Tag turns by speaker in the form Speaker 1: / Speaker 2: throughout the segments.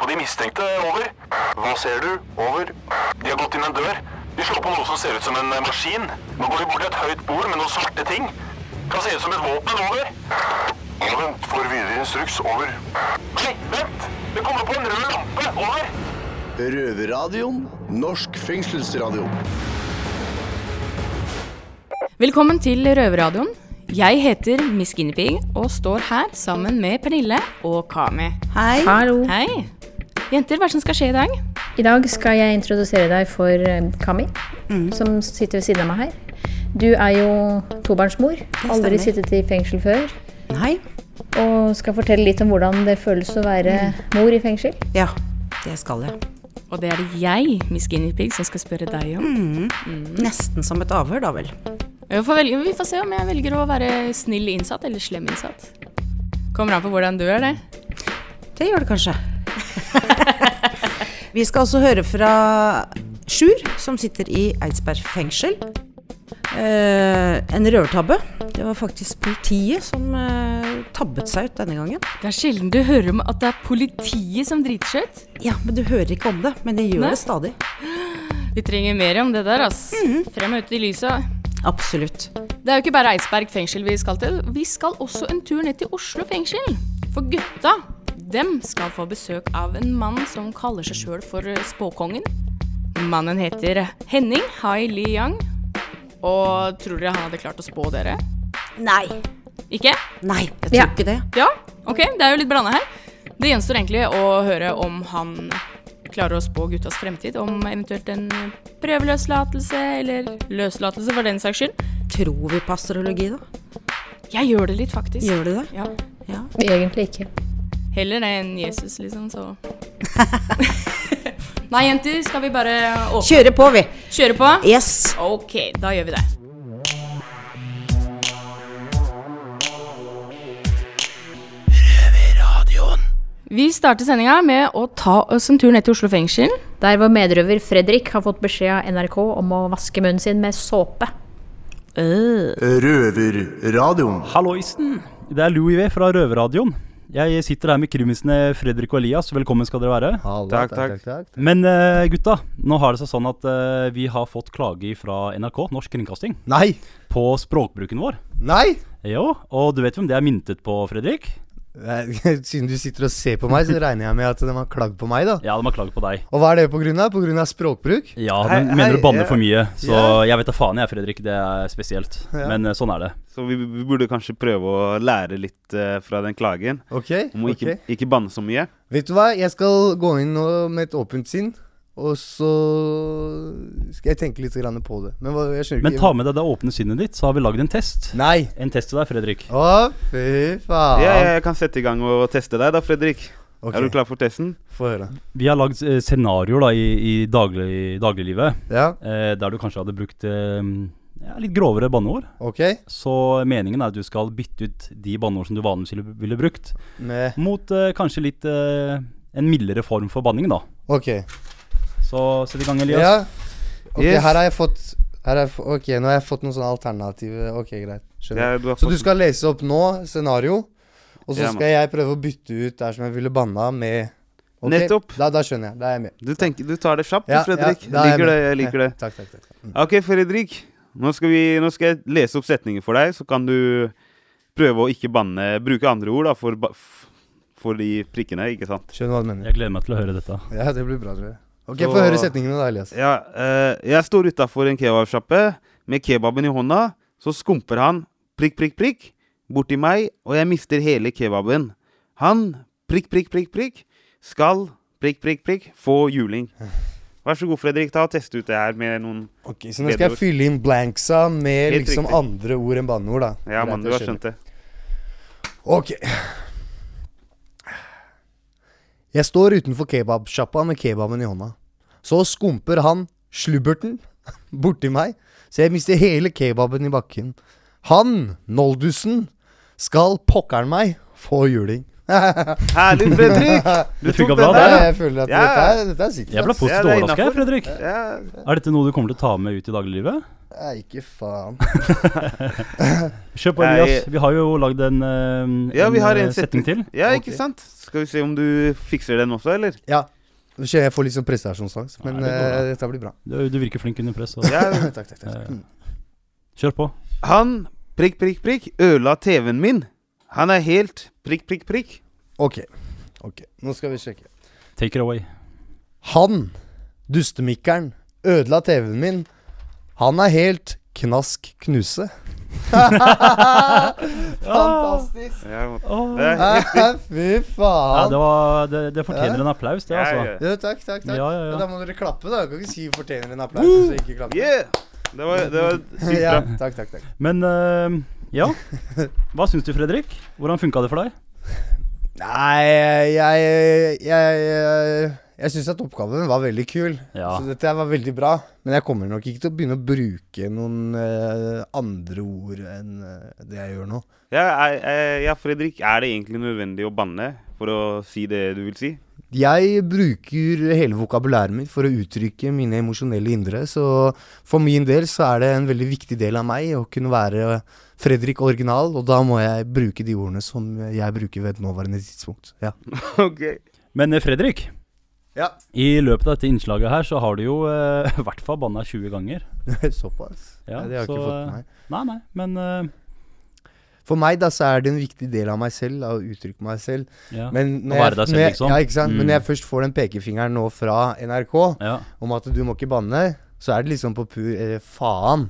Speaker 1: på de mistenkte. Over. Hva ser du? Over. De har gått inn en dør. De slår på noe som ser ut som en eh, maskin. Nå går de bort til et høyt bord med noen svarte ting. Kan se ut som et våpen. Over. Vent, får videre instruks. Over. Nei, vent! Det kommer på en rød lampe. Over.
Speaker 2: Røverradioen. Norsk fengselsradio.
Speaker 3: Velkommen til Røverradioen. Jeg heter Miss Guinea Pig og står her sammen med Pernille og Kami.
Speaker 4: Hei.
Speaker 5: Hallo.
Speaker 3: Hei. Jenter, hva er det som skal skje i dag?
Speaker 5: I dag skal jeg introdusere deg for eh, Kami, som sitter ved siden av meg her. Du er jo tobarnsmor. Aldri sittet i fengsel før.
Speaker 4: Nei.
Speaker 5: Og skal fortelle litt om hvordan det føles å være mor i fengsel.
Speaker 4: Ja, det skal jeg.
Speaker 3: Og det er det jeg, Miss Guinea Pig, som skal spørre deg om.
Speaker 4: Nesten som et avhør, da vel.
Speaker 3: Vi får, velge, vi får se om jeg velger å være snill innsatt eller slem innsatt. Kommer an på hvordan du er, det.
Speaker 4: Det gjør det kanskje. Vi skal også høre fra Sjur, som sitter i Eidsberg fengsel. Eh, en røvertabbe. Det var faktisk politiet som eh, tabbet seg ut denne gangen.
Speaker 3: Det er sjelden du hører om at det er politiet som driter seg ut.
Speaker 4: Ja, men du hører ikke om det. Men de gjør
Speaker 3: Nei.
Speaker 4: det stadig.
Speaker 3: Vi trenger mer om det der, ass. Frem og ut i lyset.
Speaker 4: Absolutt.
Speaker 3: Det er jo ikke bare Eidsberg fengsel vi skal til. Vi skal også en tur ned til Oslo fengsel. For gutta, dem skal få besøk av en mann som kaller seg sjøl for eh, Spåkongen. Mannen heter Henning Hai Li Yang. Og tror dere han hadde klart å spå dere?
Speaker 4: Nei.
Speaker 3: Ikke?
Speaker 4: Nei, jeg tror
Speaker 5: Ja.
Speaker 4: ikke det.
Speaker 3: Ja? Ok, det er jo litt blanda her. Det gjenstår egentlig å høre om han klarer å spå guttas fremtid. Om eventuelt en prøveløslatelse, eller løslatelse for den saks skyld.
Speaker 4: Tror vi på astrologi, da?
Speaker 3: Jeg gjør det litt, faktisk.
Speaker 4: Gjør du det?
Speaker 3: Ja.
Speaker 4: Ja.
Speaker 5: Egentlig ikke.
Speaker 3: Heller det enn Jesus, liksom, så Nei, jenter, skal vi bare åpne?
Speaker 4: Kjøre på, vi.
Speaker 3: kjøre på?
Speaker 4: Yes.
Speaker 3: OK, da gjør vi det. Vi starter sendinga med å ta oss en tur ned til Oslo fengsel.
Speaker 5: Der vår medrøver Fredrik har fått beskjed av NRK om å vaske munnen sin med såpe.
Speaker 2: Røverradioen.
Speaker 6: Halloisen! Det er Louis V fra Røverradioen. Jeg sitter her med krimisene Fredrik og Elias. Velkommen skal dere være.
Speaker 7: Takk, takk.
Speaker 6: Men eh, gutta, nå har det seg sånn at eh, vi har fått klage fra NRK, Norsk Kringkasting,
Speaker 7: Nei!
Speaker 6: på språkbruken vår.
Speaker 7: Nei!
Speaker 6: Jo, og du vet hvem det er myntet på, Fredrik?
Speaker 7: Nei, Siden du sitter og ser på meg, så regner jeg med at de har klagd på meg, da.
Speaker 6: Ja, de har klaget på deg.
Speaker 7: Og hva er det på grunn av? På grunn av språkbruk?
Speaker 6: Ja,
Speaker 7: Hei,
Speaker 6: de mener
Speaker 7: hei,
Speaker 6: du banner
Speaker 7: ja.
Speaker 6: for mye. Så
Speaker 7: Ja.
Speaker 6: jeg vet da faen jeg, Fredrik. Det er spesielt.
Speaker 7: Ja.
Speaker 6: Men eh, sånn er det.
Speaker 8: Så vi, vi burde kanskje prøve å lære litt eh, fra den klagen.
Speaker 7: Ok,
Speaker 8: Om
Speaker 7: ok.
Speaker 8: å ikke, ikke banne så mye.
Speaker 7: Vet du hva, jeg skal gå inn nå med et åpent sinn, og så skal jeg tenke litt grann på det. Men hva, jeg skjønner
Speaker 6: Men
Speaker 7: ikke
Speaker 6: ta med deg det åpne sinnet ditt, så har vi lagd en test.
Speaker 7: Nei!
Speaker 6: En test til deg, Fredrik.
Speaker 7: Å, fy faen.
Speaker 8: Ja, jeg kan sette i gang og teste deg da, Fredrik.
Speaker 7: Ok,
Speaker 8: Er du klar for testen?
Speaker 7: Få høre.
Speaker 6: Vi har lagd eh, scenarioer da, i, i daglig, dagliglivet.
Speaker 7: Ja,
Speaker 6: eh, der du kanskje hadde brukt eh, ja, litt grovere banneord.
Speaker 7: ok.
Speaker 6: Så meningen er at du skal bytte ut de banneord som du vanligvis ville, ville brukt,
Speaker 7: Med
Speaker 6: mot eh, kanskje litt eh, en mildere form for banning, da.
Speaker 7: Ok.
Speaker 6: Så sett i gang, Elias.
Speaker 7: Ja. Ok,
Speaker 8: Yes.
Speaker 7: her har jeg fått her har jeg, få- Ok, nå har jeg fått noen sånne alternative Ok, greit. Skjønner.
Speaker 8: Ja, du har
Speaker 7: Så
Speaker 8: fått-
Speaker 7: du skal lese opp nå scenario, og så
Speaker 8: Ja, man.
Speaker 7: skal jeg prøve å bytte ut der som jeg ville banna, med Ok,
Speaker 8: Nettopp.
Speaker 7: Da, da skjønner jeg. Da er jeg med.
Speaker 8: Du, tenker, du tar det kjapt, du,
Speaker 7: Ja,
Speaker 8: Fredrik.
Speaker 7: ja, da er jeg
Speaker 8: liker
Speaker 7: med.
Speaker 8: det, jeg liker det.
Speaker 7: Takk, takk, takk.
Speaker 8: Ok, Fredrik. Nå skal, vi, nå skal jeg lese opp setninger for deg, så kan du prøve å ikke banne Bruke andre ord da, for, ba- f- for de prikkene, ikke sant?
Speaker 7: Skjønner hva du mener.
Speaker 6: Jeg gleder meg til å høre dette.
Speaker 7: Ja, det blir bra, tror jeg. Ok,
Speaker 8: Så-
Speaker 7: Få høre setningene, da, Elias.
Speaker 8: Ja, eh, jeg står utafor en kebabsjappe med kebaben i hånda. Så skumper han prikk, prikk, prikk borti meg, og jeg mister hele kebaben. Han prikk, prikk, prikk, prikk skal prikk, prikk, prikk få juling. Vær så god, Fredrik. ta og Test ut det her med noen
Speaker 7: Ok, Så nå skal jeg
Speaker 8: Bedre ord.
Speaker 7: fylle inn blanksa med
Speaker 8: Helt
Speaker 7: liksom
Speaker 8: riktig.
Speaker 7: andre ord enn banneord, da.
Speaker 8: Ja,
Speaker 7: Greit,
Speaker 8: mann, du
Speaker 7: jeg
Speaker 8: har
Speaker 7: skjønner.
Speaker 8: skjønt det.
Speaker 7: Ok. Jeg står utenfor kebabsjappa med kebaben i hånda. Så skumper han slubberten borti meg, så jeg mister hele kebaben i bakken. Han, Noldusen, skal pokkeren meg få juling.
Speaker 8: Herlig, Fredrik! Du
Speaker 6: Det funka
Speaker 8: tok
Speaker 6: bra,
Speaker 8: den der.
Speaker 6: det.
Speaker 7: Jeg føler at
Speaker 8: Ja.
Speaker 7: dette, er, dette er sikkert.
Speaker 6: Jeg ble
Speaker 7: ass.
Speaker 8: Ja,
Speaker 6: positivt
Speaker 8: det er
Speaker 6: overraska,
Speaker 8: innenfor.
Speaker 6: Fredrik.
Speaker 8: Ja,
Speaker 6: Er dette noe du kommer til å ta med ut i dagliglivet?
Speaker 7: altså. Nei, ikke faen.
Speaker 9: Kjør på,
Speaker 8: Jeg-
Speaker 9: Elias. Vi har jo lagd en, eh,
Speaker 8: Ja, vi har
Speaker 9: eh,
Speaker 8: en setning
Speaker 9: til.
Speaker 8: Ja,
Speaker 7: Ok.
Speaker 8: ikke sant? Skal vi se om du fikser den også, eller?
Speaker 7: Ja. Nå kjenner jeg får litt sånn prestasjonsangst, men
Speaker 9: Nei, det går
Speaker 7: eh,
Speaker 9: bra.
Speaker 7: dette blir bra.
Speaker 9: Du, du virker flink under press. Så.
Speaker 8: Ja.
Speaker 7: takk, takk, takk.
Speaker 9: Eh,
Speaker 7: Mm.
Speaker 9: Kjør på.
Speaker 8: Han prikk, prikk, prikk ødela TV-en min. Han er helt prikk, prikk, prikk.
Speaker 7: Ok. ok, Nå skal vi sjekke.
Speaker 9: Take it away.
Speaker 7: Han, dustemikkeren, ødela TV-en min. Han er helt knask knuse. Fantastisk.
Speaker 8: Ja,
Speaker 6: Ah,
Speaker 8: må-
Speaker 9: Åh.
Speaker 8: Eh,
Speaker 10: altså.
Speaker 7: Fy
Speaker 9: Ja,
Speaker 7: faen.
Speaker 9: det, var, det, det fortjener en applaus, det,
Speaker 8: ja,
Speaker 9: altså.
Speaker 8: ja.
Speaker 7: Jo, takk, takk. takk.
Speaker 9: Ja, ja, ja.
Speaker 7: Men Da må dere klappe, da. Du kan ikke si fortjener en applaus, og så ikke klappe.
Speaker 8: Yeah! Det var, det var sykt
Speaker 7: ja,
Speaker 8: bra.
Speaker 7: takk, takk, takk.
Speaker 9: Men eh, ja. Hva syns du, Fredrik? Hvordan funka det for deg?
Speaker 7: Nei, jeg Jeg, jeg, jeg syns at oppgaven var veldig kul.
Speaker 9: Ja.
Speaker 7: Så dette her var veldig bra. Men jeg kommer nok ikke til å begynne å bruke noen eh, andre ord enn eh, det jeg gjør nå.
Speaker 8: Ja, jeg- jeg- ja, Fredrik, er det egentlig nødvendig å banne for å si det du vil si?
Speaker 7: Jeg bruker hele vokabulæret mitt for å uttrykke mine emosjonelle indre, så for min del så er det en veldig viktig del av meg å kunne være Fredrik original, og da må jeg bruke de ordene som jeg bruker ved et nåværende tidspunkt. Ja.
Speaker 8: Ok.
Speaker 9: Men eh, Fredrik,
Speaker 7: Ja.
Speaker 9: i løpet av dette innslaget her så har du jo eh, i hvert fall banna 20 ganger.
Speaker 7: Såpass?
Speaker 9: Ja,
Speaker 7: Ja, det har jeg
Speaker 9: så,
Speaker 7: ikke fått med meg.
Speaker 9: Nei, nei, men eh,
Speaker 7: For meg da, så er det en viktig del av meg selv, av å uttrykke meg selv.
Speaker 9: ja.
Speaker 7: Men
Speaker 9: Å være deg selv,
Speaker 7: når jeg,
Speaker 9: liksom.
Speaker 7: Ja, ikke sant? Men
Speaker 9: Mm.
Speaker 7: når jeg først får den pekefingeren nå fra NRK
Speaker 9: ja.
Speaker 7: om at du må ikke banne, så er det liksom på pur eh, faen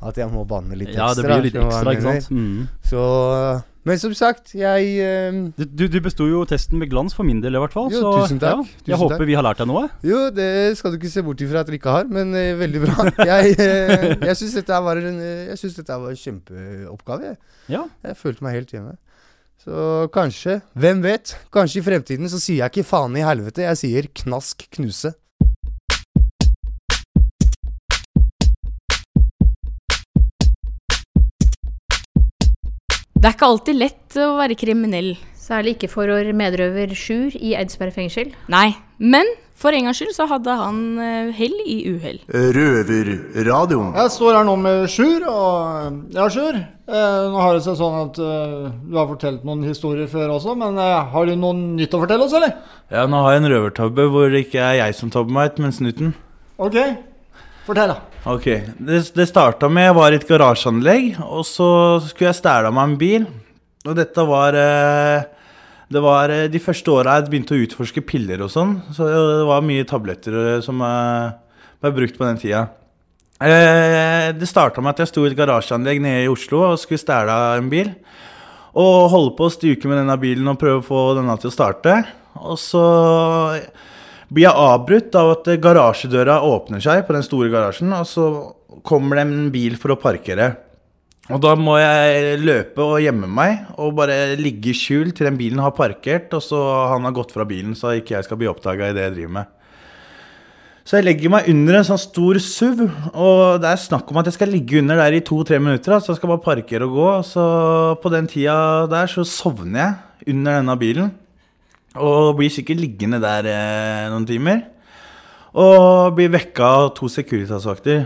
Speaker 7: at jeg må banne litt
Speaker 9: ja,
Speaker 7: ekstra.
Speaker 9: det blir jo litt
Speaker 7: skjønner du
Speaker 9: ekstra,
Speaker 7: hva jeg
Speaker 9: ikke sant?
Speaker 7: mener?
Speaker 9: Mm.
Speaker 7: Så Men som sagt, jeg eh,
Speaker 9: Du, du, du besto jo testen med glans, for min del i hvert fall.
Speaker 7: Jo,
Speaker 9: så
Speaker 7: tusen takk,
Speaker 9: Ja, jeg
Speaker 7: tusen
Speaker 9: håper
Speaker 7: takk.
Speaker 9: vi har lært deg noe.
Speaker 7: Jo, det skal du ikke se bort ifra at dere ikke har, men eh, veldig bra. Jeg, eh, jeg syns dette her var en eh, Jeg synes dette her var en kjempeoppgave. Jeg.
Speaker 9: Ja.
Speaker 7: jeg følte meg helt hjemme. Så kanskje, hvem vet, kanskje i fremtiden så sier jeg ikke faen i helvete, jeg sier knask knuse.
Speaker 3: Det er ikke alltid lett å være kriminell.
Speaker 5: Særlig ikke for vår medrøver Sjur i Eidsberg fengsel.
Speaker 3: Nei. Men for en gangs skyld så hadde han eh, hell i uhell.
Speaker 2: Røverradioen.
Speaker 10: Jeg står her nå med Sjur, og ja, Sjur. Eh, nå har det seg sånn at eh, du har fortalt noen historier før også, men eh, har du noe nytt å fortelle oss, eller?
Speaker 6: Ja, nå har jeg en røvertabbe hvor det ikke er jeg som tabber meg ut, men snuten.
Speaker 10: Ok, fortell da.
Speaker 6: Ok, det, det starta med jeg var i et garasjeanlegg, og så skulle jeg stjele meg en bil. Og dette var eh, Det var eh, de første åra jeg begynte å utforske piller og sånn. Så det var mye tabletter eh, som eh, ble brukt på den tida. Eh, det starta med at jeg sto i et garasjeanlegg nede i Oslo og skulle stjele en bil. Og holde på å stuke med denne bilen og prøve å få denne til å starte. Og så blir jeg avbrutt av at garasjedøra åpner seg på den store garasjen, og så kommer det en bil for å parkere. Og da må jeg løpe og gjemme meg og bare ligge i skjul til den bilen har parkert, og så han har gått fra bilen, så ikke jeg skal bli oppdaga i det jeg driver med. Så jeg legger meg under en sånn stor SUV, og det er snakk om at jeg skal ligge under der i to-tre minutter. da, Så jeg skal bare parkere og gå. Så på den tida der så sovner jeg under denne bilen. Og blir sikkert liggende der eh, noen timer. Og blir vekka av to Securitas-vakter.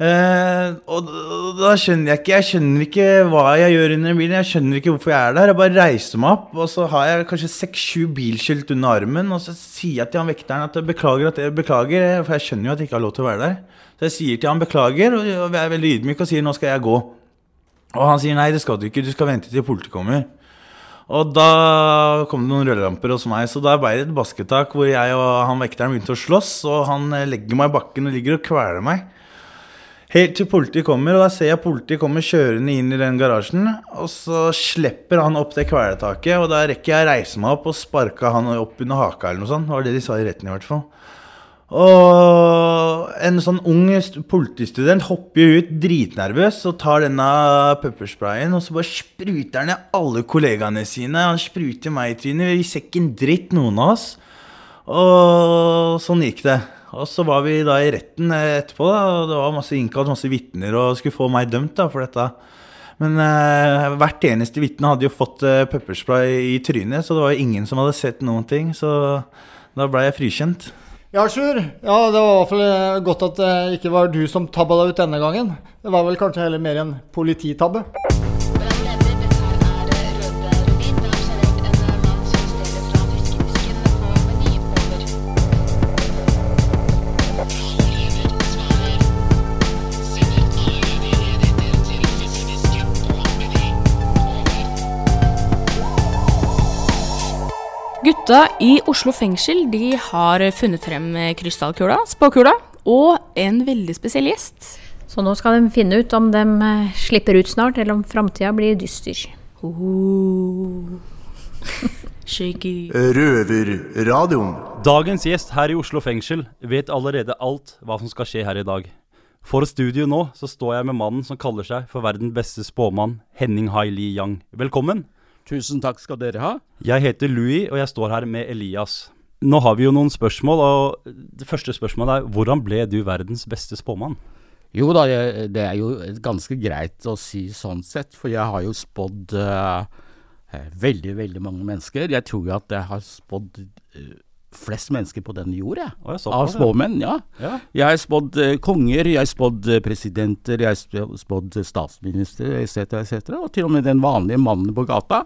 Speaker 6: Eh, og d- da skjønner jeg ikke Jeg skjønner ikke hva jeg gjør under bilen. Jeg skjønner ikke hvorfor jeg er der. Jeg bare reiser meg opp, og så har jeg kanskje seks-sju bilskilt under armen. Og så sier jeg til han vekteren at jeg beklager, at jeg beklager for jeg skjønner jo at jeg ikke har lov til å være der. Så jeg sier til han beklager, og og jeg er veldig ydmyk og sier nå skal jeg gå. Og han sier nei, det skal du ikke, du skal vente til politiet kommer. Og da kom det noen rødlamper hos meg, så da ble det et basketak hvor jeg og han vekteren begynte å slåss, og han eh, legger meg i bakken og ligger og kveler meg. Helt til politiet kommer, og da ser jeg politiet kommer kjørende inn i den garasjen, og så slipper han opp det kveletaket, og da rekker jeg å reise meg opp og sparke han opp under haka eller noe sånt. Det var det de sa i retten i hvert fall. Og en sånn ung st- politistudent hopper jo ut dritnervøs og tar denne peppersprayen, og så bare spruter han i alle kollegaene sine. Han spruter meg i trynet. Vi ser ikke en dritt, noen av oss. Og sånn gikk det. Og så var vi da i retten eh, etterpå, da, og det var masse innkalt, masse vitner, og skulle få meg dømt da for dette. Men eh, hvert eneste vitne hadde jo fått eh, pepperspray i trynet, så det var jo ingen som hadde sett noen ting. Så da ble jeg frikjent.
Speaker 11: Ja, Sjur. Ja, det var i hvert fall godt at
Speaker 6: Eh,
Speaker 11: det ikke var du som tabba deg ut denne gangen. Det var vel kanskje heller mer en polititabbe.
Speaker 3: Gutta i Oslo fengsel de har funnet frem krystallkula, spåkula, og en veldig spesiell gjest.
Speaker 5: Så nå skal de finne ut om de eh, slipper ut snart, eller om framtida blir dyster.
Speaker 3: Shaky.
Speaker 6: Røverradioen. Dagens gjest her i Oslo fengsel vet allerede alt hva som skal skje her i dag. For studio nå så står jeg med mannen som kaller seg for verdens beste spåmann, Henning Hai Li Yang. Velkommen. Tusen takk skal dere ha. Jeg heter Louis, og jeg står her med Elias. Nå har vi jo noen spørsmål, og det første spørsmålet er hvordan ble du verdens beste spåmann?
Speaker 7: Jo da, jeg- det er jo ganske greit å si sånn sett, for jeg har jo spådd eh, eh, veldig, veldig mange mennesker. Jeg tror jo at jeg har spådd eh, flest mennesker på denne jord, jeg.
Speaker 6: Å, jeg så på
Speaker 7: Av
Speaker 6: det.
Speaker 7: spåmenn, ja.
Speaker 6: Ja.
Speaker 7: Jeg har spådd eh, konger, jeg har spådd eh, presidenter, jeg har sp- spådd statsminister etc., etc., og til og med den vanlige mannen på gata.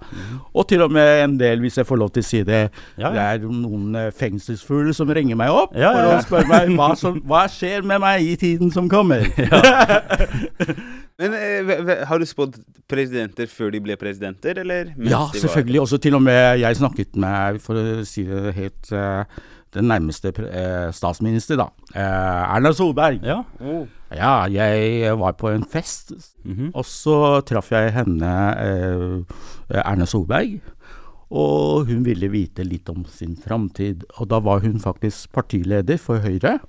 Speaker 7: Og til og med en del, hvis jeg får lov til å si det,
Speaker 6: Ja, ja.
Speaker 7: det er noen eh, fengselsfugler som ringer meg opp
Speaker 6: Ja, ja, ja.
Speaker 7: for å spørre meg hva, som, hva skjer med meg i tiden som kommer.
Speaker 8: Men eh, ve- ve- har du spådd presidenter før de ble presidenter, eller? mens
Speaker 7: Ja,
Speaker 8: de var-
Speaker 7: selvfølgelig. Også til og med jeg snakket med, for å si det helt eh, den nærmeste pre- eh, statsminister, da. Eh, Erna Solberg.
Speaker 6: Ja.
Speaker 8: Oh.
Speaker 7: ja, jeg var på en fest,
Speaker 8: Mhm.
Speaker 7: og så traff jeg henne, eh, Erna Solberg. Og hun ville vite litt om sin framtid, og da var hun faktisk partileder for Høyre.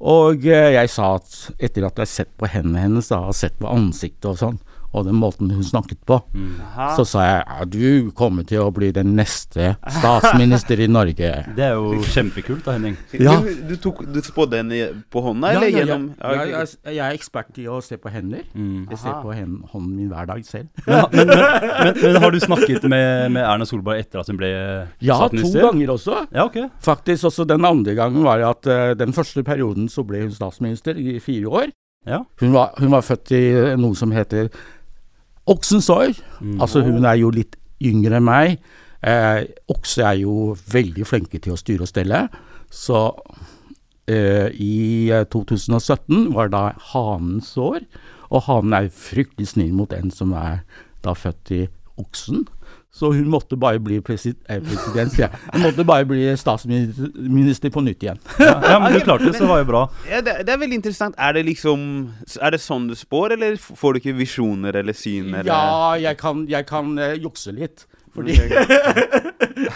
Speaker 7: Og eh, jeg sa at etter at jeg har sett på hendene hennes, da, har sett på ansiktet og sånn, og den måten hun snakket på,
Speaker 6: Aha.
Speaker 7: så sa jeg ja, du kommer til å bli den neste statsminister i Norge.
Speaker 6: Det er jo kjempekult da, Henning.
Speaker 7: Ja.
Speaker 8: Du, du, tok, du spådde henne på hånda,
Speaker 7: Ja,
Speaker 8: eller
Speaker 7: ja, ja.
Speaker 8: gjennom
Speaker 7: Ja, jeg, jeg er ekspert i å se på hender. Jeg ser på hen, hånden min hver dag selv.
Speaker 6: Men, men, men, men, men har du snakket med, med Erna Solberg etter at hun ble
Speaker 7: Ja, to
Speaker 6: statsminister?
Speaker 7: ganger også.
Speaker 6: Ja, ok.
Speaker 7: Faktisk også den andre gangen var at eh, den første perioden så ble hun statsminister i fire år. Hun, var, hun var født i eh, noe som heter Oksensår.
Speaker 6: Mm.
Speaker 7: Altså hun er jo litt yngre enn meg. Eh, okse er jo veldig flinke til å styre og stelle. Så eh, i eh, 2017 var da hanens år. Og hanen er fryktelig snill mot en som er da født i oksen. Så hun måtte bare bli presid eh, president, sier jeg. Hun måtte bare bli statsminister på nytt igjen.
Speaker 6: Ja, men du klarte det, så det var jo bra.
Speaker 8: Ja, det, det er veldig interessant. Er det liksom Er det sånn du spår, eller f- får du ikke visjoner eller syn, eller
Speaker 7: Ja, jeg kan, jeg kan eh, jukse litt. Fordi,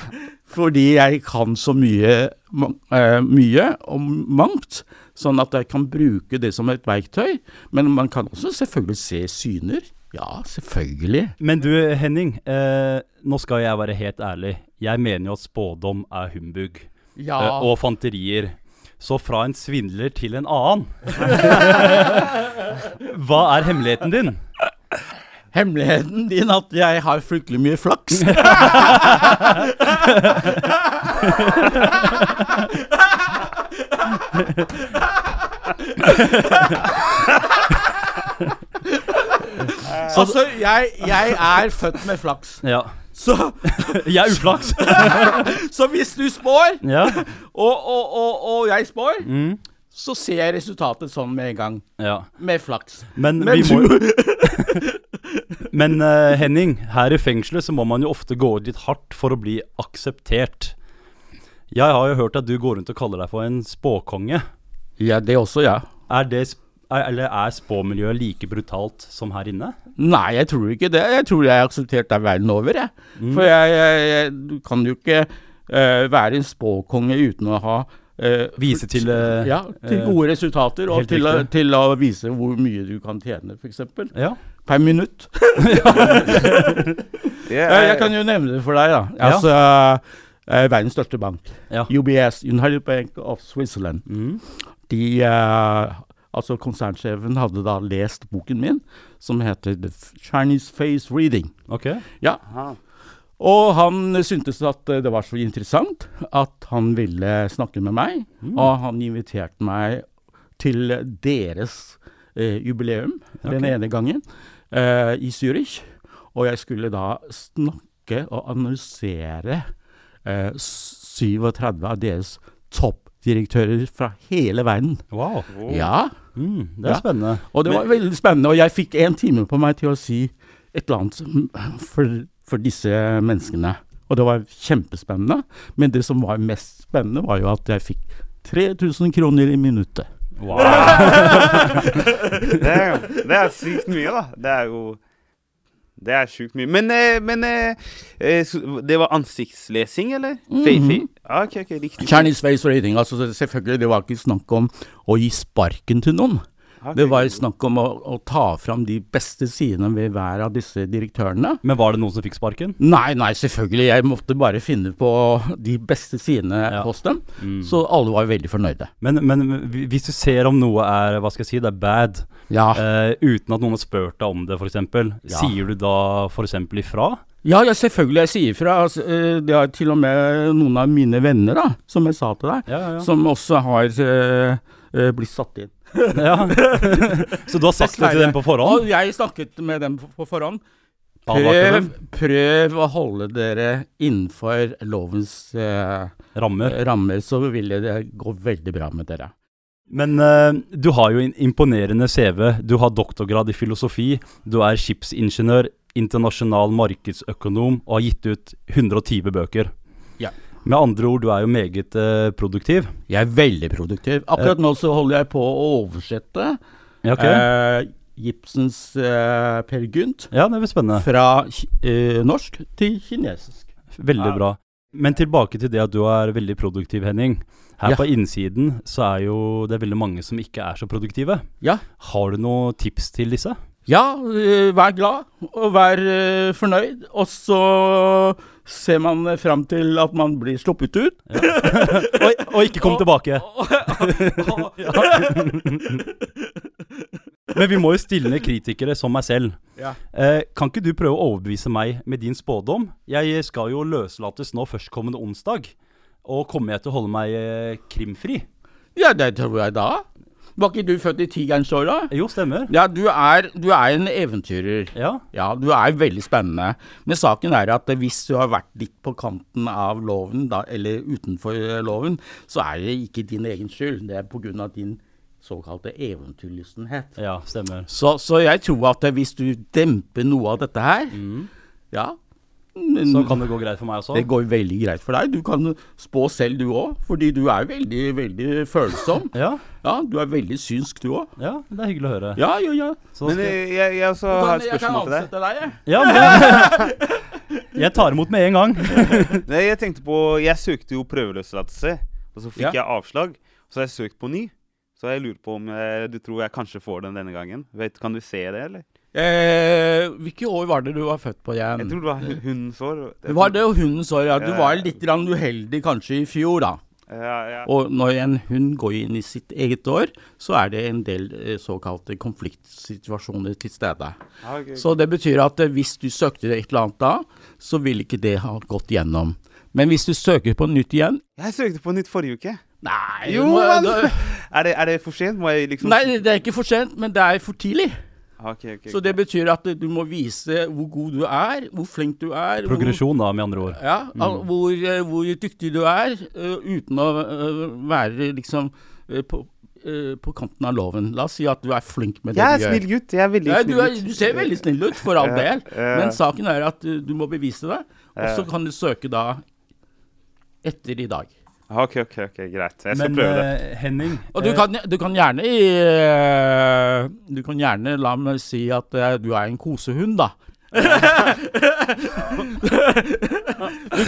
Speaker 7: fordi jeg kan så mye, man- eh, mye om mangt, sånn at jeg kan bruke det som et verktøy. Men man kan også selvfølgelig se syner. Ja, selvfølgelig.
Speaker 6: Men du, Henning, eh, nå skal jeg være helt ærlig. Jeg mener jo at spådom er humbug
Speaker 7: Ja.
Speaker 6: eh, og fanterier. Så fra en svindler til en annen. Hva er hemmeligheten din?
Speaker 7: Hemmeligheten din at jeg har fryktelig mye flaks. altså, jeg, jeg er født med flaks.
Speaker 6: Ja.
Speaker 7: Så
Speaker 6: Jeg er uflaks.
Speaker 7: Så hvis du spår,
Speaker 6: Ja.
Speaker 7: og, og, og, og jeg spår,
Speaker 6: Mm.
Speaker 7: så ser jeg resultatet sånn med en gang.
Speaker 6: Ja.
Speaker 7: Med flaks.
Speaker 6: Men,
Speaker 7: Men
Speaker 6: vi må
Speaker 7: du-
Speaker 6: Men eh, Henning, her i fengselet så må man jo ofte gå ut litt hardt for å bli akseptert. Jeg har jo hørt at du går rundt og kaller deg for en spåkonge.
Speaker 7: Ja, det også, ja.
Speaker 6: Er det sp er, eller er spåmiljøet like brutalt som her inne?
Speaker 7: Nei, jeg tror ikke det. Jeg tror jeg er akseptert der verden over, jeg.
Speaker 6: Mm.
Speaker 7: For jeg, jeg, jeg du kan jo ikke eh, være en spåkonge uten å ha eh,
Speaker 6: Vise til, eh,
Speaker 7: Ja, til
Speaker 6: eh,
Speaker 7: gode resultater, og
Speaker 6: helt
Speaker 7: til å,
Speaker 6: riktig.
Speaker 7: til å vise hvor mye du kan tjene, f.eks.
Speaker 6: Ja.
Speaker 7: Per minutt. Eh, jeg kan jo nevne det for deg, da.
Speaker 6: Ja.
Speaker 7: Altså, eh, verdens største bank,
Speaker 6: Ja.
Speaker 7: UBS, United Bank of Switzerland. De, eh, altså Konsernsjefen hadde da lest boken min, som heter The Chinese Face Reading.
Speaker 6: Ok.
Speaker 7: Ja. Og han syntes at eh, det var så interessant at han ville snakke med meg.
Speaker 6: Mm.
Speaker 7: Og han inviterte meg til deres eh, jubileum den
Speaker 6: Ok.
Speaker 7: ene gangen eh, i Zürich. Og jeg skulle da snakke og annonsere eh, 37 av deres toppdirektører fra hele verden.
Speaker 6: Wow.
Speaker 7: Ja.
Speaker 6: Mm, det er spennende.
Speaker 7: Og det
Speaker 6: Men-
Speaker 7: var veldig spennende. Og jeg fikk en time på meg til å si et eller annet som- for, for disse menneskene. Og det var kjempespennende. Men det som var mest spennende, var jo at jeg fikk 3000 kroner i minuttet.
Speaker 6: Wow.
Speaker 8: det, er, jo- det er sykt mye, da. Det er jo Det er sjukt mye. Men, eh, men eh, eh, så det var ansiktslesing, eller? Mm
Speaker 7: Mhm.
Speaker 8: Ok, ok, riktig.
Speaker 7: Chinese face rating. Altså så selvfølgelig, det var ikke snakk om å gi sparken til noen.
Speaker 8: Ok.
Speaker 7: Det var snakk om å, å ta fram de beste sidene ved hver av disse direktørene.
Speaker 6: Men var det noen som fikk sparken?
Speaker 7: Nei, nei, selvfølgelig. Jeg måtte bare finne på de beste sidene hos dem.
Speaker 6: Mm.
Speaker 7: Så alle var veldig fornøyde.
Speaker 6: Men, men hvi- hvis du ser om noe er hva skal jeg si, det er bad, eh, uten at noen har spurt deg om det, f.eks.,
Speaker 7: Ja.
Speaker 6: sier du da f.eks. ifra?
Speaker 7: Ja, ja, selvfølgelig. Jeg sier fra. Altså, eh, det er til og med noen av mine venner, da, som jeg sa til deg,
Speaker 6: ja, ja.
Speaker 7: som også har eh, eh, blitt satt inn.
Speaker 6: Ja. Så du har sagt det til dem på forhånd?
Speaker 7: Og jeg snakket med dem på- på forhånd.
Speaker 6: Advarte
Speaker 7: Prøv,
Speaker 6: dem?
Speaker 7: prøv å holde dere innenfor lovens eh,
Speaker 6: Rammer.
Speaker 7: rammer, så vil det gå veldig bra med dere.
Speaker 6: Men eh, du har jo en imponerende CV. Du har doktorgrad i filosofi. Du er skipsingeniør, internasjonal markedsøkonom og har gitt ut 120 bøker.
Speaker 7: Ja.
Speaker 6: Med andre ord, du er jo meget eh, produktiv.
Speaker 7: Jeg er veldig produktiv. Akkurat nå så holder jeg på å oversette
Speaker 6: Ja, ok.
Speaker 7: eh, Gibsons eh, Per Gynt
Speaker 6: Ja, det blir spennende.
Speaker 7: fra ki- eh, norsk til kinesisk.
Speaker 6: Veldig
Speaker 7: Ja.
Speaker 6: bra. Men tilbake til det at du er veldig produktiv, Henning. Her
Speaker 7: Ja.
Speaker 6: på innsiden så er jo det er veldig mange som ikke er så produktive.
Speaker 7: Ja.
Speaker 6: Har du noen tips til disse?
Speaker 7: Ja, eh, vær glad og vær eh, fornøyd, og så ser man fram til at man blir sluppet ut.
Speaker 6: og, og ikke kom tilbake. Men vi må jo stille ned kritikere som meg selv.
Speaker 7: Ja.
Speaker 6: Eh, kan ikke du prøve å overbevise meg med din spådom? Jeg eh, skal jo løslates nå førstkommende onsdag. Og kommer jeg til å holde meg eh, krimfri?
Speaker 7: Ja, det tror jeg da. Var ikke du født i tigerensåra?
Speaker 6: Jo, stemmer.
Speaker 7: Ja, du er, du er en eventyrer.
Speaker 6: Ja.
Speaker 7: Du er veldig spennende. Men saken er at hvis du har vært litt på kanten av loven, da, eller utenfor eh, loven, så er det ikke din egen skyld. Det er pga. din såkalte eventyrlystenhet.
Speaker 6: Ja, stemmer.
Speaker 7: Så, så jeg tror at hvis du demper noe av dette her, ja
Speaker 6: Så kan det gå greit for meg også?
Speaker 7: Det går veldig greit for deg. Du kan spå selv du òg, fordi du er veldig, veldig følsom.
Speaker 6: ja.
Speaker 7: Du er veldig synsk du òg.
Speaker 6: Ja, det er hyggelig å høre.
Speaker 7: Ja, ja, ja.
Speaker 6: Så
Speaker 8: Men
Speaker 6: skal-
Speaker 8: eh, jeg, jeg også
Speaker 7: Du kan-
Speaker 8: har et
Speaker 7: jeg kan
Speaker 8: spørsmål til deg.
Speaker 7: ansette deg, jeg.
Speaker 6: Ja, men Jeg tar imot med en gang.
Speaker 8: Nei, jeg tenkte på Jeg søkte jo prøveløslatelse, og så fikk
Speaker 6: Ja.
Speaker 8: jeg avslag. Så har jeg søkt på ny. Så jeg lurer på om eh, du tror jeg kanskje får den denne gangen. Vet, kan du se det, eller?
Speaker 7: Eh, hvilke år var det du var født på igjen?
Speaker 8: Jeg tror det var hu- hundens år.
Speaker 7: Det var det jo hundens år, ja. Du
Speaker 8: Ja, ja.
Speaker 7: var litt grann uheldig kanskje i fjor, da.
Speaker 8: Ja, ja.
Speaker 7: Og når en hund går inn i sitt eget år, så er det en del eh, såkalte konfliktsituasjoner til stede.
Speaker 8: Ah, ok, ok.
Speaker 7: Så det betyr at eh, hvis du søkte et eller annet da, så ville ikke det ha gått gjennom. Men hvis du søker på nytt igjen
Speaker 8: Jeg søkte på nytt forrige uke.
Speaker 7: Nei,
Speaker 8: jo,
Speaker 7: du må-
Speaker 8: men
Speaker 7: da-
Speaker 8: er, det, er det for sent? Må jeg liksom Ah,
Speaker 7: Nei, det er ikke for sent, men det er for tidlig.
Speaker 8: Ok, ok, ok.
Speaker 7: Så det betyr at eh, du må vise hvor god du er, hvor flink du er. hvor-
Speaker 6: Progresjon, da, med andre ord.
Speaker 7: Ja, al- hvor, eh, hvor dyktig du er eh, uten å eh, være liksom eh, på, eh, på kanten av loven. La oss si at du er flink med det
Speaker 8: Jeg er
Speaker 7: du gjør.
Speaker 8: snill gutt, jeg er veldig
Speaker 7: ja,
Speaker 8: snill
Speaker 7: du er-
Speaker 8: gutt.
Speaker 7: Du ser veldig snill ut, for all
Speaker 8: Ja,
Speaker 7: del.
Speaker 8: ja.
Speaker 7: Men saken er at eh, du må bevise det. Og så
Speaker 8: Ja.
Speaker 7: kan du søke da etter i dag.
Speaker 8: Ah, Ok, ok, ok, greit. Jeg skal
Speaker 6: Men,
Speaker 8: prøve
Speaker 6: eh,
Speaker 8: det.
Speaker 6: Henning,
Speaker 7: Og du kan, du kan gjerne i, eh, Du kan gjerne la meg si at eh, du er en kosehund, da. du,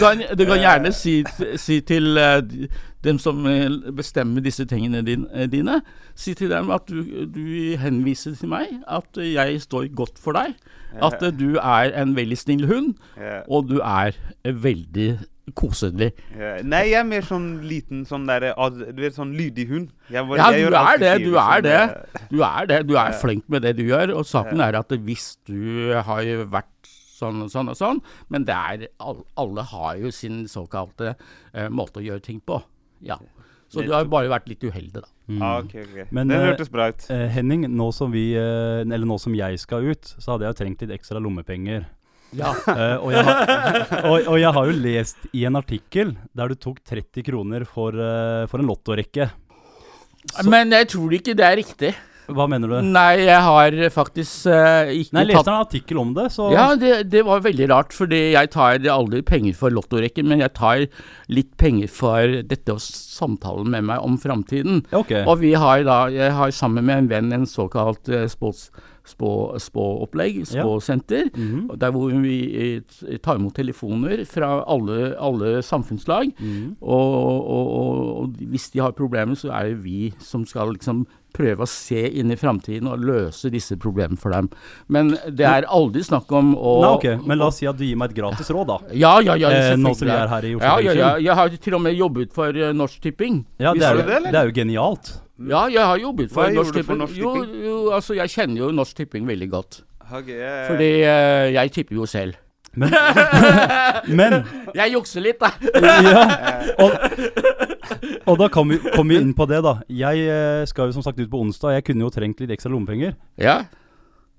Speaker 7: kan, du kan gjerne si, si til eh, de- dem som eh, bestemmer disse tingene din, eh, dine, si til dem at du, du henviser til meg at eh, jeg står godt for deg. At eh, du er en veldig snill hund,
Speaker 8: Ja.
Speaker 7: og du er eh, veldig koselig.
Speaker 8: Eh, Nei, jeg er mer sånn liten sånn derre ad- Du vet, sånn lydig hund. Jeg bare-
Speaker 7: Ja,
Speaker 8: jeg gjør
Speaker 7: du
Speaker 8: alt
Speaker 7: er det.
Speaker 8: sier,
Speaker 7: Du
Speaker 8: liksom.
Speaker 7: er det. Du er det. Du
Speaker 8: Ja.
Speaker 7: er flink med det du gjør. Og saken
Speaker 8: Ja.
Speaker 7: er at hvis du har vært sånn og sånn og sånn. Men det er, all, alle har jo sin såkalte eh, måte å gjøre ting på. Ja. Så du har jo bare vært litt uheldig, da.
Speaker 8: Ah, ok, ok.
Speaker 6: Mm. Men,
Speaker 8: Den
Speaker 6: eh,
Speaker 8: hørtes bra ut.
Speaker 6: eh, Henning, nå som, vi, eh, eller nå som jeg skal ut, så hadde jeg jo trengt litt ekstra lommepenger.
Speaker 7: Ja.
Speaker 6: Eh, og, jeg har, og, og jeg har jo lest i en artikkel der du tok 30 kroner for, eh, for en lottorekke.
Speaker 7: Men jeg tror ikke det er riktig.
Speaker 6: Hva mener du?
Speaker 7: Nei, jeg har faktisk eh, ikke
Speaker 6: Nei, jeg leste en artikkel om det, så
Speaker 7: Ja, det, det var veldig rart, fordi jeg tar aldri penger for lottorekken, men jeg tar litt penger for dette å samtale med meg om framtiden.
Speaker 6: Ok.
Speaker 7: Og vi har da, jeg har sammen med en venn en såkalt eh, spås, spå, spåopplegg,
Speaker 6: Ja.
Speaker 7: spåsenter, og der hvor vi eh, tar imot telefoner fra alle, alle samfunnslag, og, og, og, og hvis de har problemer, så er det vi som skal liksom prøve å se inn i framtiden og løse disse problemene for dem. Men det er aldri snakk om å
Speaker 6: Nei, ok, Men la oss si at du gir meg et gratis råd, da.
Speaker 7: ja, ja, ja,
Speaker 6: Eh, nå
Speaker 7: selvfølgelig.
Speaker 6: som vi er her i Oslo
Speaker 7: ja, ja, ja,
Speaker 6: fengsel.
Speaker 7: Jeg har til og med jobbet for eh, Norsk Tipping.
Speaker 6: Ja, det
Speaker 7: Visste
Speaker 6: er,
Speaker 7: du
Speaker 6: jo- det er jo genialt.
Speaker 7: Ja, jeg har jobbet for
Speaker 6: Hva
Speaker 7: Norsk
Speaker 6: gjorde du for
Speaker 7: Tipping.
Speaker 6: Norsk
Speaker 7: Jo, jo, altså, jeg kjenner jo Norsk Tipping veldig godt.
Speaker 8: Ok, jeg-
Speaker 7: Fordi eh, jeg tipper jo selv.
Speaker 6: Men, men-
Speaker 7: Jeg jukser litt, da.
Speaker 6: ja. Og, og da kom vi, kom vi inn på det, da. Jeg eh, skal jo som sagt ut på onsdag. Jeg kunne jo trengt litt ekstra lommepenger.
Speaker 7: Ja.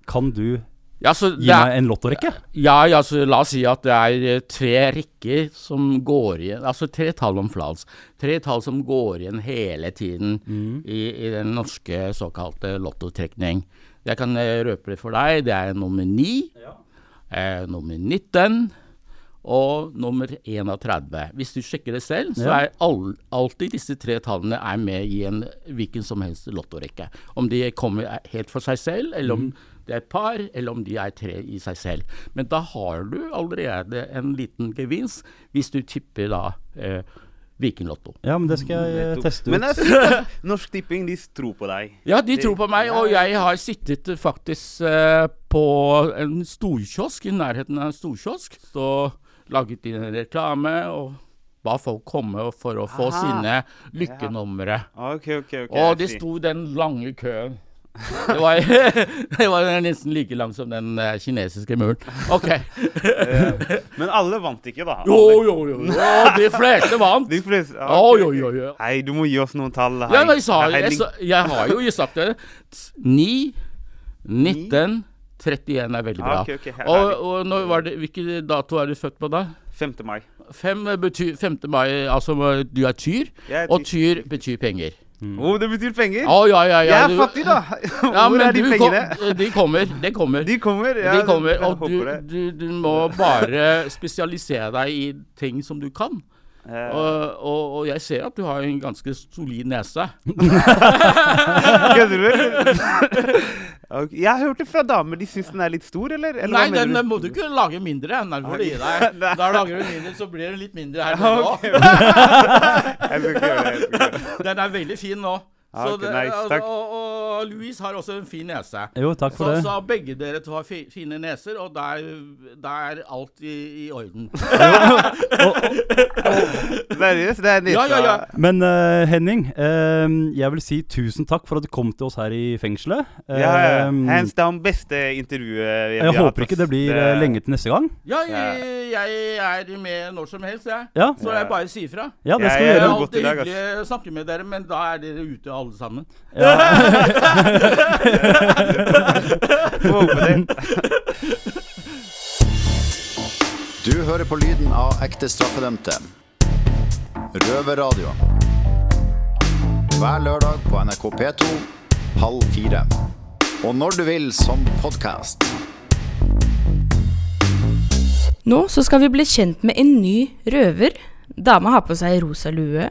Speaker 6: Kan du
Speaker 7: Ja, så
Speaker 6: gi
Speaker 7: det er-
Speaker 6: meg en lottorekke?
Speaker 7: Ja, ja, så la oss si at det er eh, tre rekker som går igjen, altså tre tall om flals, tre tall som går igjen hele tiden i, i den norske såkalte lottotrekning. Jeg kan eh, røpe det for deg, det er nummer 9, eh, nummer 19 og nummer 31. Hvis du sjekker det selv, så
Speaker 6: Ja.
Speaker 7: er all, alltid disse tre tallene er med i en hvilken som helst lottorekke. Om de kommer helt for seg selv, eller om det er par, eller om de er tre i seg selv. Men da har du allerede en liten gevinst, hvis du tipper da eh, Vikinglotto.
Speaker 6: Ja, men det skal jeg eh, teste ut.
Speaker 8: Men jeg synes at Norsk Tipping de tror på deg.
Speaker 7: Ja, de tror på meg, og jeg har sittet eh, faktisk eh, på en storkiosk, i nærheten av en storkiosk, så laget de en reklame og ba folk komme for å få
Speaker 8: Aha.
Speaker 7: sine lykkenumre.
Speaker 8: Ah, Ok, ok, ok.
Speaker 7: og
Speaker 8: jeg
Speaker 7: det
Speaker 8: sier.
Speaker 7: sto den lange køen. Det var, det var nesten like lang som den eh, kinesiske muren. OK.
Speaker 8: Eh, Men alle vant ikke, da.
Speaker 7: Jo,
Speaker 8: Alle.
Speaker 7: jo, jo, jo, de fleste vant.
Speaker 8: De fleste, ja,
Speaker 7: Oi,
Speaker 8: ok,
Speaker 7: oi,
Speaker 8: ok.
Speaker 7: oi, oi.
Speaker 8: Hei, du må gi oss noen tall. Hei.
Speaker 7: Ja, men jeg, sa, jeg,
Speaker 8: Henning.
Speaker 7: sa, jeg har jo sagt det. 9, 19, 31 er veldig bra.
Speaker 8: Ah, ok, ok, her er
Speaker 7: og,
Speaker 8: vi.
Speaker 7: og når var det, hvilken dato er du født på da?
Speaker 8: 5. mai.
Speaker 7: 5, betyr, 5. mai, altså du er tyr,
Speaker 8: Jeg er
Speaker 7: og tyr betyr penger.
Speaker 8: Å, det betyr penger?
Speaker 7: Å, Mm. ja, ja, ja,
Speaker 8: jeg er
Speaker 7: du-
Speaker 8: fattig, da.
Speaker 7: Ja,
Speaker 8: Hvor
Speaker 7: men
Speaker 8: er de
Speaker 7: du
Speaker 8: pengene?
Speaker 7: Kom, de kommer. De kommer.
Speaker 8: De kommer, ja,
Speaker 7: de kommer
Speaker 8: jeg
Speaker 7: og du,
Speaker 8: håper det.
Speaker 7: du, du må bare spesialisere deg i ting som du kan. Og, og, og jeg ser at du har en ganske solid nese.
Speaker 8: Kødder du? eller? Ok, Jeg har hørt det fra damer. De syns den er litt stor, eller? eller
Speaker 7: Nei,
Speaker 8: hva
Speaker 7: den
Speaker 8: mener
Speaker 7: må du ikke lage mindre. Den får du gi deg. Da lager du mindre, så blir det litt mindre her
Speaker 8: Ja,
Speaker 7: nå.
Speaker 8: ok, ok. Jeg skal ikke gjøre det, jeg skal ikke gjøre det.
Speaker 7: Den er veldig fin nå.
Speaker 8: Ja, ok,
Speaker 7: det- altså
Speaker 8: nice, takk.
Speaker 7: Og, og Louise har også en fin nese.
Speaker 6: Jo, takk for
Speaker 7: så,
Speaker 6: det.
Speaker 7: Så begge dere to har fi, fine neser, og da er, da er alt i, i orden.
Speaker 8: Seriøst, det er nesa.
Speaker 7: Ja, ja, ja.
Speaker 6: Men eh, Henning, eh, jeg vil si tusen takk for at du kom til oss her i fengselet.
Speaker 8: Ja, ja.
Speaker 6: Eh,
Speaker 8: Hands down, beste intervjuet vi
Speaker 6: jeg håper ikke det blir eh, lenge til neste gang.
Speaker 7: Ja, jeg, jeg er med når som helst, jeg.
Speaker 6: Ja.
Speaker 7: Så jeg bare sier fra.
Speaker 6: Ja, det skal
Speaker 7: Det
Speaker 6: vi
Speaker 7: er
Speaker 6: gjøre.
Speaker 8: godt i
Speaker 7: alltid
Speaker 8: dag, ass.
Speaker 7: hyggelig å snakke med dere, men da er dere ute alle sammen.
Speaker 8: Håper det.
Speaker 2: Du hører på lyden av ekte straffedømte. Røverradio. Hver lørdag på NRK P2 halv fire. Og når du vil som podkast.
Speaker 3: Nå så skal vi bli kjent med en ny røver. Dama har på seg rosa lue,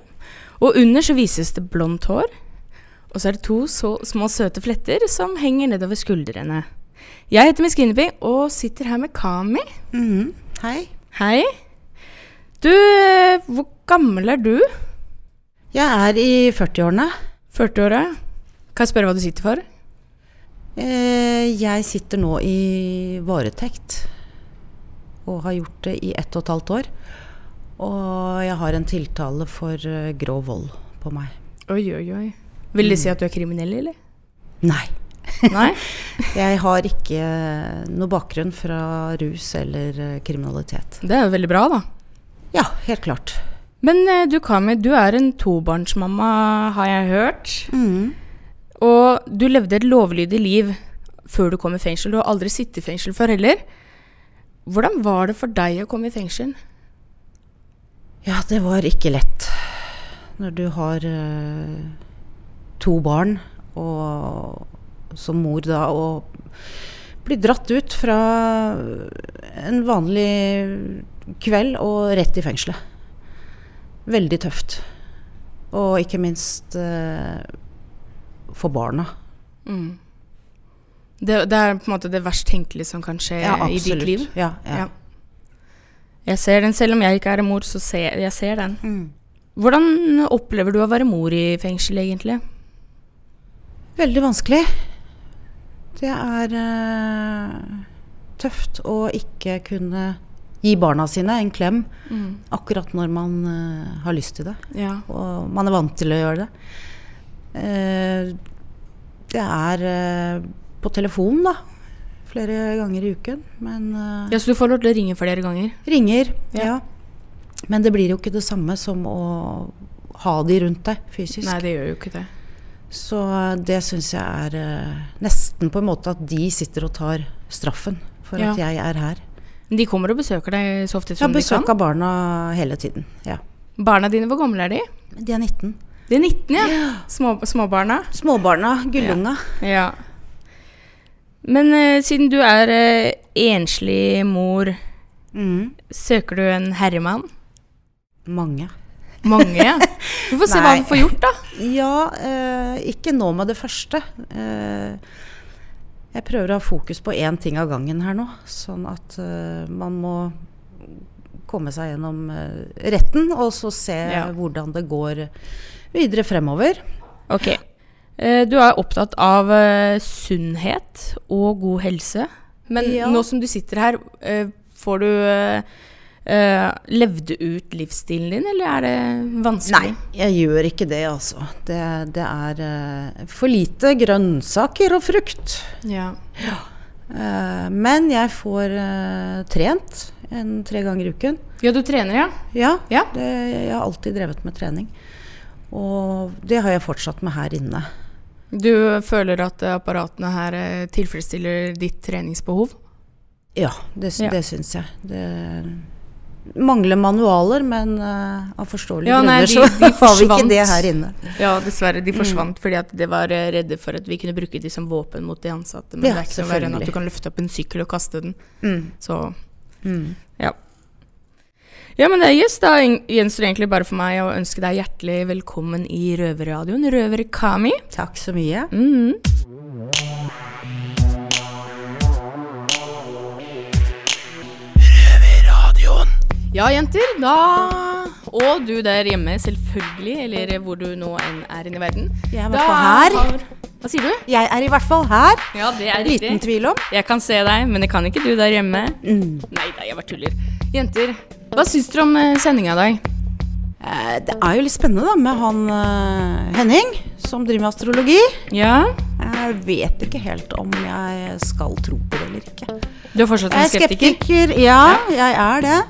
Speaker 3: og under så vises det blondt hår. Og så er det to så små søte fletter som henger nedover skuldrene. Jeg heter Miss Guinevere og sitter her med Kami.
Speaker 4: Hei.
Speaker 3: Hei. Du, eh, hvor gammel er du?
Speaker 4: Jeg er i 40-årene.
Speaker 3: 40-åra? Kan jeg spørre hva du sitter for?
Speaker 4: Eh, jeg sitter nå i varetekt og har gjort det i ett og et halvt år. Og jeg har en tiltale for eh, grov vold på meg.
Speaker 3: Mm. Oi, oi, oi. Vil det si at du er kriminell, eller?
Speaker 4: Nei.
Speaker 3: Nei.
Speaker 4: jeg har ikke noe bakgrunn fra rus eller eh, kriminalitet.
Speaker 3: Det er jo veldig bra, da.
Speaker 4: Ja, helt klart.
Speaker 3: Men eh, du, Kami, du er en tobarnsmamma, har jeg hørt. Og du levde et lovlydig liv før du kom i fengsel. Du har aldri sittet i fengsel før heller. Hvordan var det for deg å komme i fengsel?
Speaker 4: Ja, det var ikke lett. Når du har eh, to barn, og som mor da, og blir dratt ut fra en vanlig kveld og rett i fengselet. Veldig tøft. Og ikke minst eh, for barna.
Speaker 3: Mm. Det, det er på en måte det verst tenkelige som kan skje
Speaker 4: Ja,
Speaker 3: i ditt
Speaker 4: absolutt.
Speaker 3: liv.
Speaker 4: Ja, ja.
Speaker 3: Jeg ser den, selv om jeg ikke er mor, så ser jeg ser den. Hvordan opplever du å være mor i fengsel, egentlig?
Speaker 4: Veldig vanskelig. Det er eh, tøft å ikke kunne gi barna sine en klem
Speaker 3: Mm.
Speaker 4: akkurat når man eh, har lyst til det.
Speaker 3: Ja.
Speaker 4: Og man er vant til å gjøre det. Eh, det er eh, på telefon, da. Flere ganger i uken. Men eh,
Speaker 3: Ja, Så du får lov til å ringe flere ganger?
Speaker 4: Ringer, ja. Men det blir jo ikke det samme som å ha de rundt deg fysisk.
Speaker 3: Nei, det gjør jo ikke det.
Speaker 4: Så det syns jeg er eh, nesten på en måte at de sitter og tar straffen for
Speaker 3: Ja.
Speaker 4: at jeg er her.
Speaker 3: Men De kommer og besøker deg så ofte
Speaker 4: Jeg har
Speaker 3: som
Speaker 4: besøk
Speaker 3: de
Speaker 4: av barna hele tiden. Ja.
Speaker 3: kan? Barna dine, hvor gamle er de?
Speaker 4: De er 19.
Speaker 3: De er 19, ja. Små, småbarna.
Speaker 4: Småbarna, gullunga.
Speaker 3: Ja. ja. Men eh, siden du er eh, enslig mor, søker du en herremann?
Speaker 4: Mm. Mange.
Speaker 3: Mange, ja. Vi får se hva
Speaker 4: Nei.
Speaker 3: vi får gjort, da.
Speaker 4: Ja, eh, ikke nå med det første. Eh, jeg prøver å ha fokus på én ting av gangen her nå, sånn at eh, man må komme seg gjennom eh, retten, og så se
Speaker 3: Ja.
Speaker 4: hvordan det går videre fremover.
Speaker 3: Ok. Eh, Du er opptatt av eh, sunnhet og god helse. Men
Speaker 4: Ja.
Speaker 3: nå som du sitter her, eh, får du eh, eh, Levde ut livsstilen din, eller er det vanskelig?
Speaker 4: Nei, jeg gjør ikke det, altså. Det, det er eh, for lite grønnsaker og frukt.
Speaker 3: Ja.
Speaker 4: Eh, men jeg får eh, trent en tre ganger i uken.
Speaker 3: ja, du trener, ja?
Speaker 4: Ja, Det, jeg har alltid drevet med trening. Og det har jeg fortsatt med her inne.
Speaker 3: Du føler at eh, apparatene her eh, tilfredsstiller ditt treningsbehov?
Speaker 4: Ja, det, sy-
Speaker 3: Ja.
Speaker 4: det syns jeg. Det mangler manualer, men eh, av forståelige
Speaker 3: Ja, nei,
Speaker 4: grunner
Speaker 3: de,
Speaker 4: så
Speaker 3: de
Speaker 4: har vi
Speaker 3: forsvant.
Speaker 4: ikke det her inne.
Speaker 3: Ja, dessverre. De
Speaker 4: Mm.
Speaker 3: forsvant fordi at de var eh, redde for at vi kunne bruke de som våpen mot de ansatte. Men
Speaker 4: Ja,
Speaker 3: det er ikke noe verre enn at
Speaker 4: selvfølgelig.
Speaker 3: du kan løfte opp en sykkel og kaste den.
Speaker 4: Mm.
Speaker 3: Så
Speaker 4: Mm.
Speaker 3: ja. Ja, men det er yes, da en- gjenstår egentlig bare for meg å ønske deg hjertelig velkommen i Røverradioen, Røver Kami.
Speaker 4: Takk så mye.
Speaker 3: Mm. Ja, jenter. Da Og du der hjemme, selvfølgelig. Eller hvor du nå enn er inne i verden.
Speaker 4: Jeg er i
Speaker 3: Da
Speaker 4: hvert fall her.
Speaker 3: har- Hva sier du?
Speaker 4: Jeg er i hvert fall her.
Speaker 3: Ja, det er
Speaker 4: Liten
Speaker 3: riktig.
Speaker 4: tvil om.
Speaker 3: Jeg kan se deg, men det kan ikke du der hjemme.
Speaker 4: Mm.
Speaker 3: Nei da, jeg bare tuller. Jenter, hva syns dere om sendinga i dag?
Speaker 4: Eh, Det er jo litt spennende da med han eh, Henning, som driver med astrologi.
Speaker 3: Ja.
Speaker 4: Jeg vet ikke helt om jeg skal tro på det eller ikke.
Speaker 3: Du er fortsatt en
Speaker 4: Jeg er
Speaker 3: skeptiker?
Speaker 4: skeptiker. Ja, jeg er det.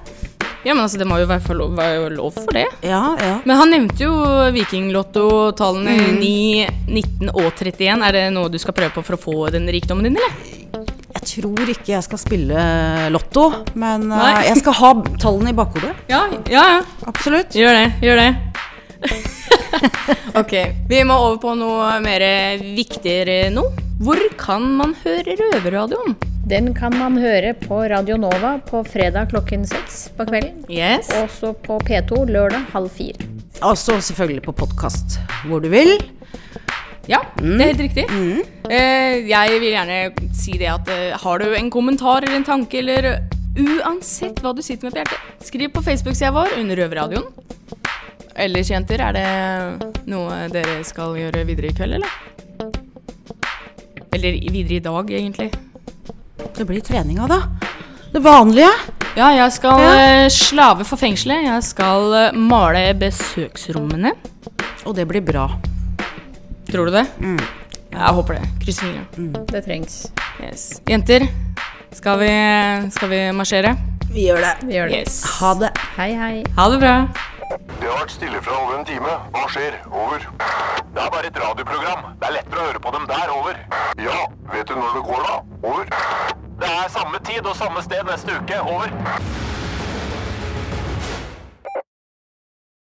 Speaker 3: Ja, men altså, det må jo være, for lov, være jo lov for det.
Speaker 4: Ja, ja.
Speaker 3: Men han nevnte jo vikinglotto-tallene
Speaker 4: Mm.
Speaker 3: 9, 19 og 31. Er det noe du skal prøve på for å få den rikdommen din, eller?
Speaker 4: Jeg tror ikke jeg skal spille lotto, men eh,
Speaker 3: Nei.
Speaker 4: jeg skal ha tallene i bakhodet.
Speaker 3: Ja, ja. ja.
Speaker 4: Absolutt.
Speaker 3: Gjør det. Gjør det. ok, vi må over på noe mer viktigere nå. Hvor kan man høre Røverradioen?
Speaker 5: Den kan man høre på Radio Nova på fredag klokken seks på kvelden.
Speaker 3: Yes.
Speaker 5: Og så på P2 lørdag halv fire.
Speaker 4: Altså selvfølgelig på podkast hvor du vil.
Speaker 3: Ja, det er helt riktig. Eh, jeg vil gjerne si det at eh, har du en kommentar eller en tanke, eller eh, uansett hva du sitter med på hjertet, skriv på Facebook-sida vår under Røverradioen. Ellers, jenter, er det noe dere skal gjøre videre i kveld, eller? Eller i- videre i dag, egentlig.
Speaker 4: Det blir treninga, da. Det vanlige.
Speaker 3: Ja, jeg skal eh, slave for fengselet. Jeg skal eh, male besøksrommene.
Speaker 4: Og det blir bra.
Speaker 3: Tror du det? Jeg håper det. Krysser fingrene.
Speaker 5: Det trengs.
Speaker 3: Yes. Jenter, skal vi, skal vi marsjere?
Speaker 4: Vi gjør det.
Speaker 5: Vi gjør det.
Speaker 3: Yes.
Speaker 4: Ha det.
Speaker 5: Hei, hei.
Speaker 3: Ha det bra.
Speaker 1: Det har vært stille fra over en time. Hva skjer? Over. Det er bare et radioprogram. Det er lettere å høre på dem der. Over. Ja, vet du når det går, da? Over. Det er samme tid og samme sted neste uke. Over.